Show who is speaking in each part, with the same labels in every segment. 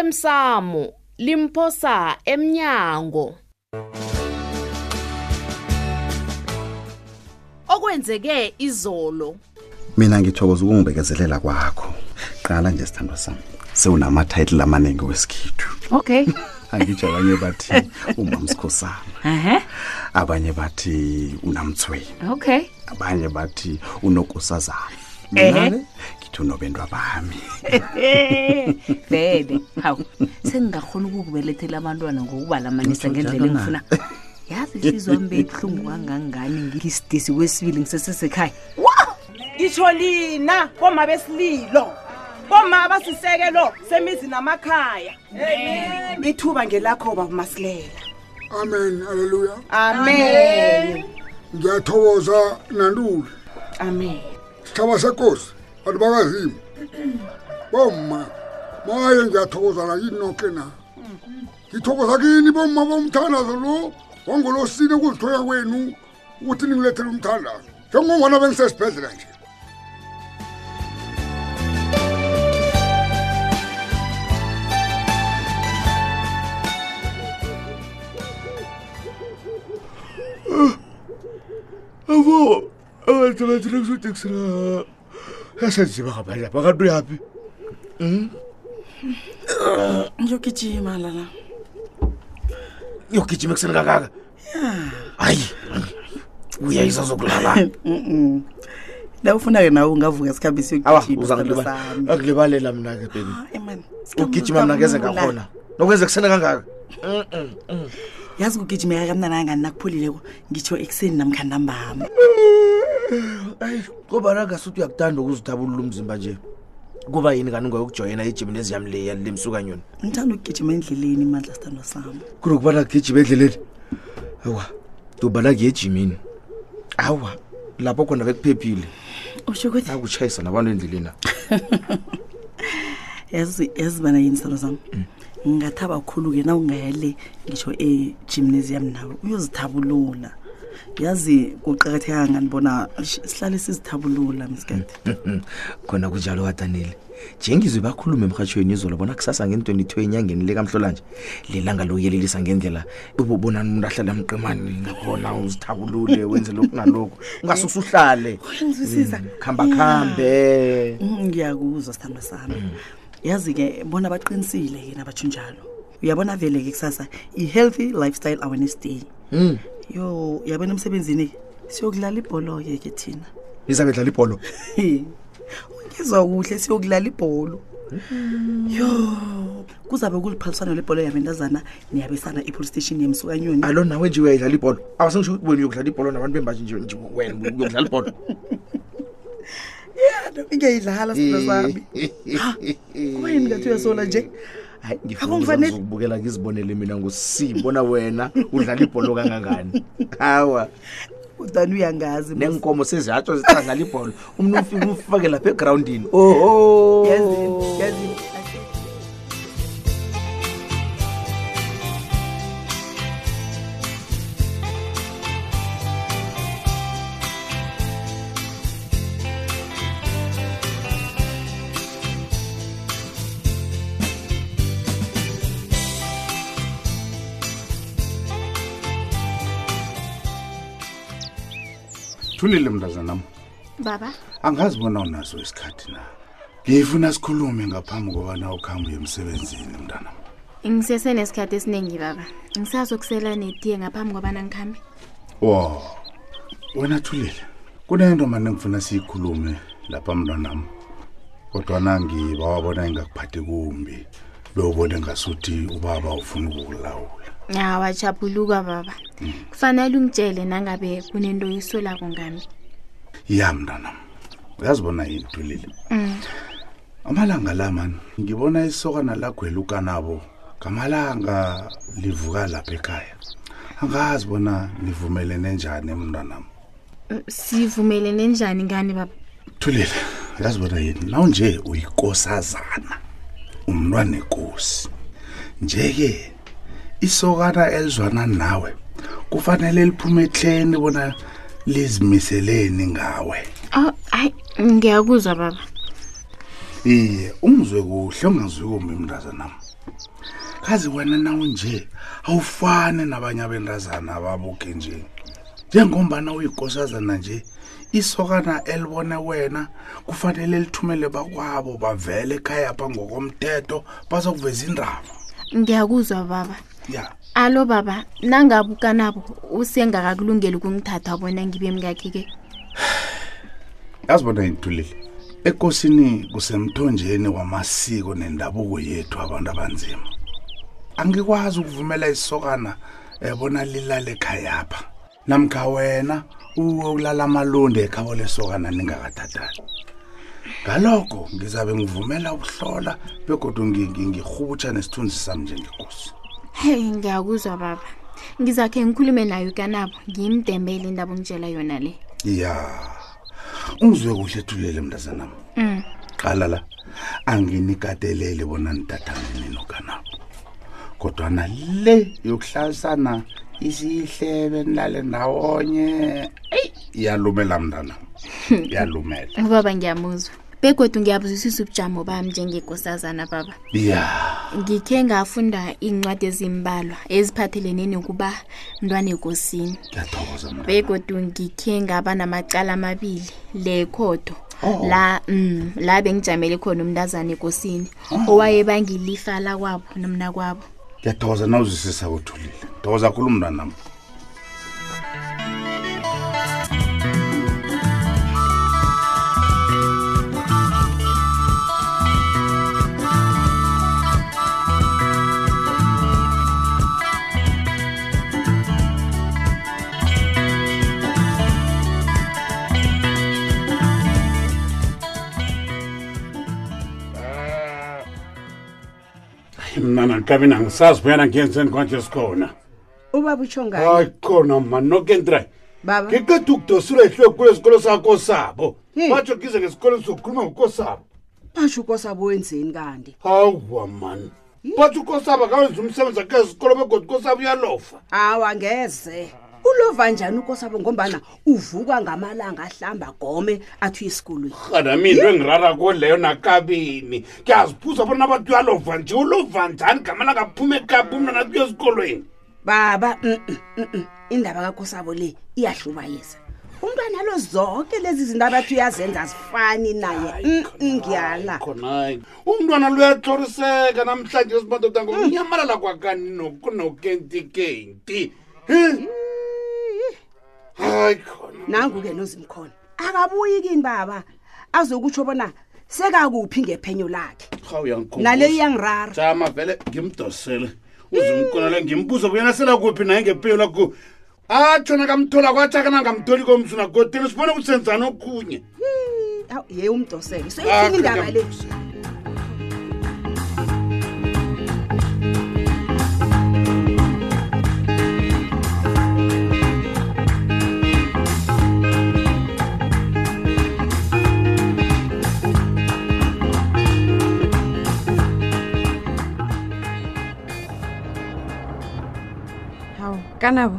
Speaker 1: osemsamo limphosa emnyango okwenzeke izolo
Speaker 2: mina ngithokoza ukungibekezelela kwakho qala nje sithandwa sami sewunamathayitile amaningi wesikhethu
Speaker 3: okay
Speaker 2: angitsho abanye bathi umamsikhosana
Speaker 3: ehe
Speaker 2: abanye bathi unamthweni
Speaker 3: okay
Speaker 2: abanye bathi unokosazana mina-ke ngithi unobendwa bami
Speaker 3: bebe hawu sengingakhona ukukubelethela abantwana ngokubalumanisa ngendlela engifuna yazi isizwa mbe ibuhlungu kangangani ngisidisi kwesibili ngisesesekhaya
Speaker 4: ngitsho lina koma besililo koma abasisekelo semizi namakhaya ithuba ngelakho baba masilela
Speaker 5: amen aleluya
Speaker 4: amen
Speaker 5: ngiyathokoza nantule
Speaker 4: amen
Speaker 5: sithaba sekosi bantu bakazima bomma maye ngiyathokoza la yini noke na ngithokoza kini bomma bomthandazo lo wangolosini ukuzithoya kwenu ukuthi ningilethele umthandazo njengongona bengisesibhedlela nje
Speaker 6: abo abantu bathina kusotekusela yasenziba ngabani lapha kanti uyaphi
Speaker 7: ngiyogijima lala
Speaker 6: yogijima ekuseni kangaka hayi uyayisa zokulala
Speaker 7: la ufuna-ke nawe ungavuka sikhambe
Speaker 6: awa
Speaker 7: siyogijima sithandwa sami.
Speaker 6: uzangibalela mna-ke bebi
Speaker 7: Ah, eman, sikhambe
Speaker 6: ugijima mna ngeze
Speaker 7: uzabulala.
Speaker 6: ngakhona nokweze kuseni kangaka
Speaker 7: yazi kugijimeka kamnanangani nakupholileko ngitsho ekuseni namkhandambama
Speaker 6: ayi ngobana ngasuthi uyakuthanda ukuzithabulula umzimba nje kuba yini kani ngoyokujoyina ijimi neziyami le yalile msukanyoni
Speaker 7: ngithanda ukugijima endleleni mandla sithandwa sami
Speaker 6: kunokubana gijima endleleni awa dubana ngiye ejimini awa lapho khona bekuphephile
Speaker 7: usho ukuthi
Speaker 6: akutshayisa nabantu endleleni
Speaker 7: yazi yazi bana yini sithandwa sami ngingathaba khulu-ke na ungayale ngitsho ejimneziyam nawe uyozithabulula yazi kuqakatheka kangani bona sh- sihlale sizithabulula misikade
Speaker 6: khona kunjalo kadanile njengizwe bakhulume emrhatshweni izolo bona kusasa ngen-22 enyangeni lekamhlolanje lelanga lokuyelelisa ngendlela ubobonani umuntu ahlala emqimani ngakhona uzithabulule wenze lokhu nalokhu ungasusa uhlale
Speaker 7: uyangizwisisa
Speaker 6: khambakuhambe
Speaker 7: Mm, ngiyakuzwa sithandwa sami yazi-ke bona baqinisile yena batsho njalo uyabona vele-ke kusasa i-healthy lifestyle awareness day yo uyabona emsebenzini-ke siyokudlala ibholo-ke ke thina
Speaker 6: nizabedlala ibholo
Speaker 7: ungizwa kuhle siyokudlala ibholo yo kuzabe kuliphaliswana lebholo yabentazana niyabesana i-police station yemsukanyoni
Speaker 6: alo nawe nje uyayidlala ibholo awasengisho ukuthi wena uyokudlala ibholo nabantu bembaji nje nje wena uyokudlala ibholo
Speaker 7: ngiyayidlala
Speaker 6: Eh.
Speaker 7: sithandwa sami kubayini ngathi uyasola nje
Speaker 6: hayi
Speaker 7: Akungifaneli-
Speaker 6: ngifuzokubukela ngizibonele mina ngosibona wena udlala ibholo kangangani hawa
Speaker 7: udani uyangazi mos.
Speaker 6: neenkomo seziyatsho zicadlala ibholo umntu ufike umfake lapha egrawundini oho
Speaker 7: Yazini, yazini.
Speaker 2: thulile mntazanam
Speaker 8: baba
Speaker 2: angazi bona unaso isikhathi na ngifuna sikhulume ngaphambi kobana ukuhambe uye emsebenzini mntanam
Speaker 8: ngisesenesikhathi esiningi baba ngisazokusela netiye ngaphambi kwabana ngikhambe
Speaker 2: wo wena thulile kunento mane ngifuna siyikhulume lapha mntwanam kodwana ngibawabona ingakuphathi kumbi bewubone ngasuthi ubaba ufuna ukukulawula
Speaker 8: awajabuluka baba kufanele ungitshele nangabe kunento oyisolako ngami
Speaker 2: ya mntanam uyazibona yini thulile amalanga la mani ngibona isokana lagwelukanabo ngamalanga livuka lapha ekhaya angazi bona nivumelene njani mntwanam
Speaker 8: Mm, sivumelene njani ngani baba
Speaker 2: thulile uyazibona yini nawu nje uyikosazana umntwana enkosi nje-ke isokana elizwana nawe kufanele liphume ehleni bona lizimiseleni ngawe
Speaker 8: oh hayi ngiyakuzwa baba
Speaker 2: iye ungizwe kuhle ungazwi kumbi mntazanam kazi wena nawe nje awufani nabanye abentazana ababuke nje njengombana uyinkosazana nje isokana elibone wena kufanele lithumele bakwabo bavele ekhaya pha ngokomthetho bazokuveza indaba
Speaker 8: ngiyakuzwa baba
Speaker 2: ya
Speaker 8: alo baba nangabe ukanabo usengakakulungeli ukungithatha bona ngibe mngakhe-ke
Speaker 2: yazi bona ngithulile ekosini kusemthonjeni wamasiko nendabuko yethu abantu abanzima angikwazi ukuvumela isokana ebona lilale ekhaya pha namkha wena uwe ukulala amalundi ekhabo lesokana ningakathathani ngalokho ngizabe ngivumela ukuhlola begodwa ngihubutsha nesithunzi sami njengekosi
Speaker 8: heyi ngiyakuzwa baba ngizakhe ngikhulume naye ukanabo ngimdembele indaba ongitshela yona le
Speaker 2: ya ungizwe kuhle ethulele mntazanam
Speaker 8: Mm.
Speaker 2: qala la anginikateleli bona nidathangene nokanabo kodwana le yokuhlalisana isihlebe nilale ndawonye eyi iyalumela mntanam iyalumela
Speaker 8: ubaba ngiyamuzwa begodwa ngiyabuzwisisa ubujamo bami njengekosazana baba
Speaker 2: ya
Speaker 8: ngikhe ngafunda iincwadi ezimbalwa eziphathelene nokuba mntwana ekosini
Speaker 2: ngiyathokoza mna
Speaker 8: begodu ngikhe ngaba namacala amabili lekhodo la mm, la bengijamele khona umntazana ekosini owayebangilifa lakwabo nomna kwabo
Speaker 2: ngiyathokoza nawuzwisisa kuthulile thokoza khulu mntanam
Speaker 9: mna nankamina angisazi buyana ngenzeni kwanje sikhona
Speaker 4: ubaba utsho ngayo
Speaker 6: Ah.
Speaker 9: hayi khona mani nokentrayi
Speaker 4: baba
Speaker 9: ngiqeda ukudosula ihlwe kule sikolo sakho sabo
Speaker 4: Hey.
Speaker 9: batsho ngize ngesikolweni sokukhuluma ngokosabo
Speaker 4: basho ukosabo wenzeni kanti
Speaker 9: hawa mani batsho ukosabo akawenza umsebenzi akhe esikolo begodi ukosabo uyalofa
Speaker 4: awa ngeze ulova njani ukosabo ngombana uvuka ngamalanga ahlamba gome athi uyesikolweni
Speaker 9: kanami into engirara koleyo nakabini ngiyaziphuza bona abantu uyalova nje ulova njani gamana ngaphuma ekapa umntana kuyo esikolweni
Speaker 4: baba mm, mm, mm, mm. indaba kakosabo le iyahlubayeza umntwana lo zonke lezi zinto abathi uyazenza azifani naye Mm, mm, ngiyala
Speaker 9: khona umntwana luyatloriseka namhlanje esimadoda ngokunyamalala kwakani nokunokentikenti hayi khona
Speaker 4: nangu-ke nozimkhona akabuyi kini baba azokutsho bona sekakuphi ngephenyo lakhe
Speaker 9: hawu
Speaker 4: nale iyangirara
Speaker 9: jama vele ngimdosele uzimkonele ngimbuzo buyena selakuphi naye ngepeyo lakho atshona kamthola kwathakana ngamtholi komsuna godeni sibone kusenzana okunye
Speaker 4: Hi, awu, ye umdosele so ithini indaba le
Speaker 10: hawu kanabo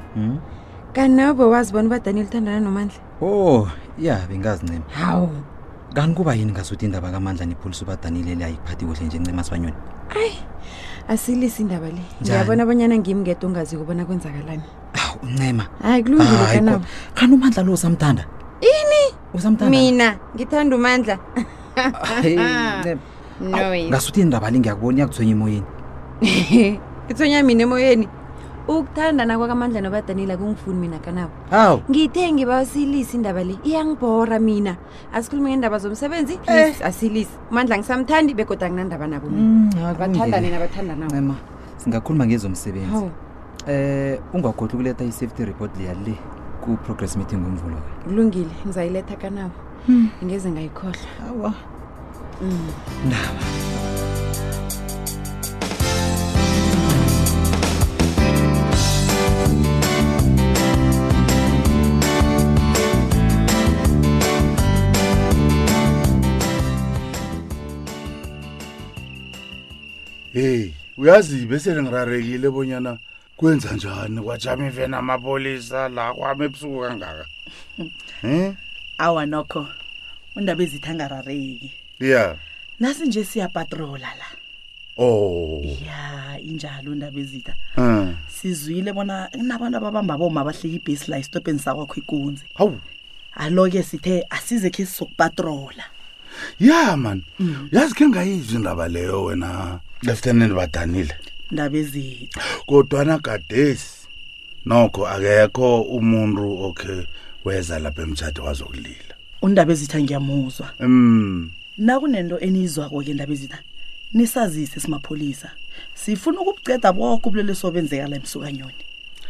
Speaker 10: kanabo wazi bona ubadanile uthandana nomandla
Speaker 11: o ya bengazincema
Speaker 10: hawu
Speaker 11: kanti kuba yini ngasuthi indaba kamandla nepholisa ubadanile le ayikuphathi kuhle nje ncema sibanyoni
Speaker 10: asilisi indaba le ngiyabona abanyana ngimi ngedwa ongaziko bona kwenzakalani
Speaker 11: awu uncema
Speaker 10: hayi kulungile
Speaker 11: Hayi,
Speaker 10: kanabo
Speaker 11: bo- kanti umandla lo usamthanda ini usamthanda
Speaker 10: mina ngithanda umandla
Speaker 11: Hey, Ncema.
Speaker 10: no yes.
Speaker 11: Ah, ngasuthi indaba le ngiyakubona iyakuthwenya emoyeni
Speaker 10: ithonya mina emoyeni ukuthandana kwakamandla nobadanile akungifuni mina kanabo
Speaker 11: hawu
Speaker 10: ngithe ngibasilisi indaba le iyangibhora mina asikhulume ngendaba zomsebenzi please asilisi umandla ngisamthandi begoda nginandaba nabo mina
Speaker 11: Mm, hayi,
Speaker 10: bathandane
Speaker 11: kulungile.
Speaker 10: nabathanda nabo
Speaker 11: ncema singakhuluma ngezomsebenzi
Speaker 10: hawu
Speaker 11: um ungakhohlwa ukuletha i-safety report leya le ku-progress meeting ngomvulo-ke
Speaker 10: kulungile ngizayiletha kanabo ngingeze ngayikhohlwa
Speaker 11: awa
Speaker 2: heyi uyazi besele ngirarekile bonyana kwenza njani kwajama iveni amapolisa la kwami ebusuku kangaka um
Speaker 7: awa nokho undaba ezithangarareki
Speaker 2: ya
Speaker 7: nasi nje siyapatrola la
Speaker 2: Oh.
Speaker 7: ya injalo ndaba ezitha
Speaker 2: Mm.
Speaker 7: sizwile bona kunabantu ababamba boma bahlika ibhesi la isitobheni sakwakho ikunzi
Speaker 2: hawu
Speaker 7: alo-ke sithe asize khe sizokupatrola
Speaker 2: ya mani
Speaker 11: Mm.
Speaker 2: yazi ke ngayizwa indaba leyo wena lieutenant badanile
Speaker 7: ndaba ezitha
Speaker 2: kodwana gadesi nokho akekho umuntu okhe weza lapha emtshado wazokulila
Speaker 7: undaba ezitha ngiyamuzwa
Speaker 2: um
Speaker 7: nakunento eniyizwako-ke ndaba ezitha nisazise simapholisa sifuna ukubuceda boke ubulelesi obenzeka la emsukanyoni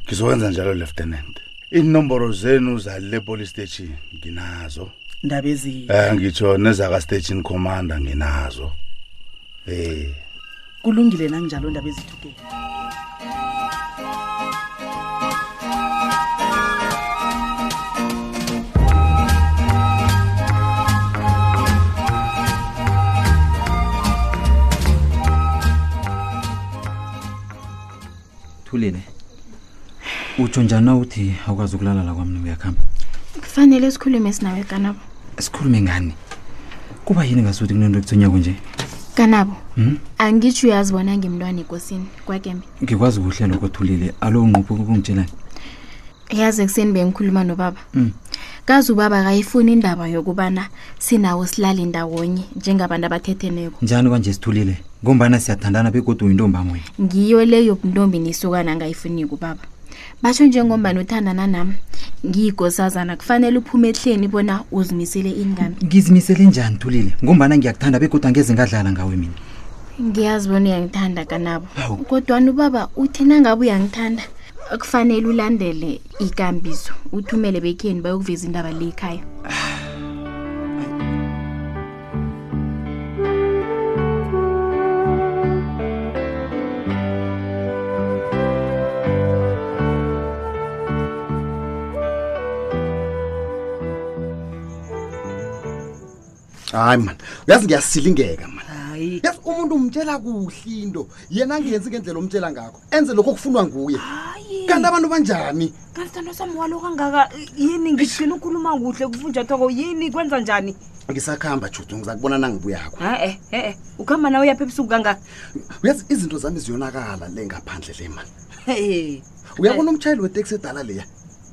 Speaker 2: ngizokwenza njalo lieutenant iinomboro zenu zalile police station nginazo
Speaker 7: ndaba ezitha
Speaker 2: um ngitsho nezaka-station commander nginazo um
Speaker 7: kulungile nanginjalo ndaba ezithukela
Speaker 11: thulile utsho njani uthi awukwazi ukulala kwami uyakuhamba
Speaker 8: kufanele sikhulume sinawe kanabo
Speaker 11: sikhulume ngani kuba yini ngasuthi kunento ekuthonyako nje
Speaker 8: kanabo
Speaker 11: Hmm?
Speaker 8: angitsho uyazi bona ngimntwana ekosini kwakembe
Speaker 11: ngikwazi kuhle lokho thulile alo unquphuka ukungitshelani
Speaker 8: yazi ekuseni bengikhuluma nobaba
Speaker 11: Mm.
Speaker 8: kazi ubaba kayifuni indaba yokubana sinawo silale ndawonye njengabantu abathetheneko
Speaker 11: njani kwanje sithulile ngombana siyathandana begodwa uyintombam wena
Speaker 8: ngiyo leyo ntombi nisukana ngayifuniki ubaba batsho njengombani uthandana nam ngiyigosazana kufanele uphume ehleni bona uzimisele ingami
Speaker 11: ngizimisele njani thulile ngombana ngiyakuthanda begodwa ngeze ngadlala ngawe mina
Speaker 8: ngiyazi bona uyangithanda kanabo
Speaker 11: Hawu.
Speaker 8: kodwani ubaba uthi nangabe uyangithanda kufanele ulandele ikambiso uthumele bekheni bayokuveza indaba le ekhaya
Speaker 12: hayi mani uyazi ngiyasilingeka mani yazi umuntu umtshela kuhle into yena angenzi ngendlela omtshela ngakho enze lokho okufunwa nguye kanti abantu banjani
Speaker 3: kantando sami walo kangaka yini ngigcina ukhuluma kuhle kufunjathoko yini kwenza njani
Speaker 12: ngisakuhamba judu ngiza kubona nangibuyakho
Speaker 3: e-e e-e ukuhamba nawe yapha ebusuku kangaka
Speaker 12: uyazi izinto zami ziyonakala le ngaphandle le mani
Speaker 3: Hey,
Speaker 12: uyabona umtshayeli weteksi edala leya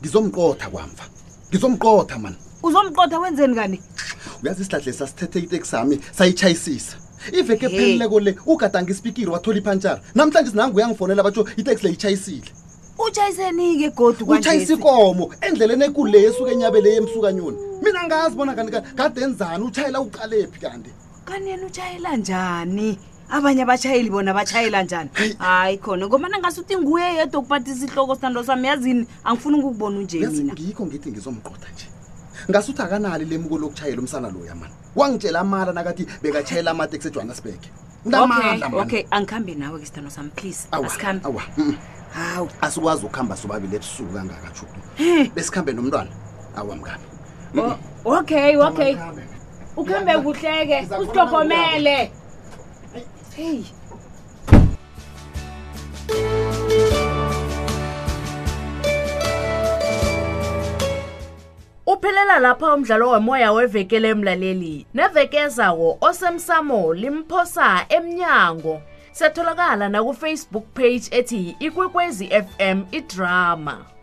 Speaker 12: ngizomqotha kwamva ngizomqotha mani
Speaker 3: uzomqotha wenzeni kani
Speaker 12: uyazi isihlahle sasithethe iteksi sami sayitshayisisa iveke epheleleko le ugadanga ispikiri wathola ipantshara namhlanje sinangu uyangifonela batsho iteksi le itshayisile
Speaker 3: utshayiseni-ke godu
Speaker 12: utshayisa ikomo endleleni ekulu le yesuka enyabele yemsukanyoni mina ngazi bona kanti ka- kade enzani utshayela uqalephi kanti
Speaker 3: kani yena utshayela njani abanye abatshayeli bona batshayela njani hayi khona ngomana ngasuthi nguye yedwa okuphathisa ihloko sithando sami yazini angifuni ukukubona unje
Speaker 12: Yazi,
Speaker 3: mina
Speaker 12: ngikho ngithi ngizomqotha nje ngasuthi akanali lemuko lokutshayela umsana loya mani wangitshela amala nakathi bekatshayela amateksi ejohannesburg
Speaker 3: okay
Speaker 12: Nginamala, man.
Speaker 3: okay angikhambe nawe-ke sithando sami please
Speaker 12: Awa,
Speaker 3: asikhambe
Speaker 12: awa, mm.
Speaker 3: hawu
Speaker 12: asikwazi ukuhamba sobabili ebusuku kangaka judu
Speaker 3: He.
Speaker 12: besikhambe nomntwana awa mngani
Speaker 3: O- okay okay ukhambe kuhle-ke usitogomele heyi
Speaker 1: Uphelela lapha umdlalo womoya wevekele emlaleli. Nevekezawo osemsamo limphosa emnyango. Setholakala na ku Facebook page ethi Ikwekwezi FM iDrama.